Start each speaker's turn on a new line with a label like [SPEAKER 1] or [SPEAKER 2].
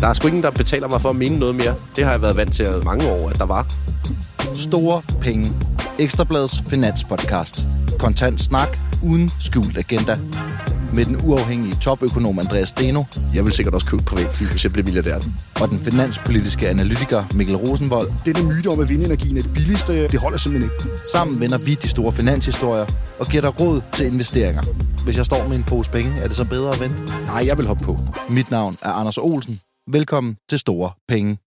[SPEAKER 1] Der er sgu ingen, der betaler mig for at mene noget mere. Det har jeg været vant til at mange år, at der var.
[SPEAKER 2] Store penge. Ekstrabladets finanspodcast. Kontant snak uden skjult agenda. Med den uafhængige topøkonom Andreas Steno
[SPEAKER 1] Jeg vil sikkert også købe privatfly, hvis jeg bliver milliardær.
[SPEAKER 2] og den finanspolitiske analytiker Mikkel Rosenvold.
[SPEAKER 3] Denne myte om, at vindenergien er det billigste, det holder simpelthen ikke.
[SPEAKER 2] Sammen vender vi de store finanshistorier og giver dig råd til investeringer.
[SPEAKER 1] Hvis jeg står med en pose penge, er det så bedre at vente?
[SPEAKER 2] Nej, jeg vil hoppe på. Mit navn er Anders Olsen. Velkommen til Store Penge.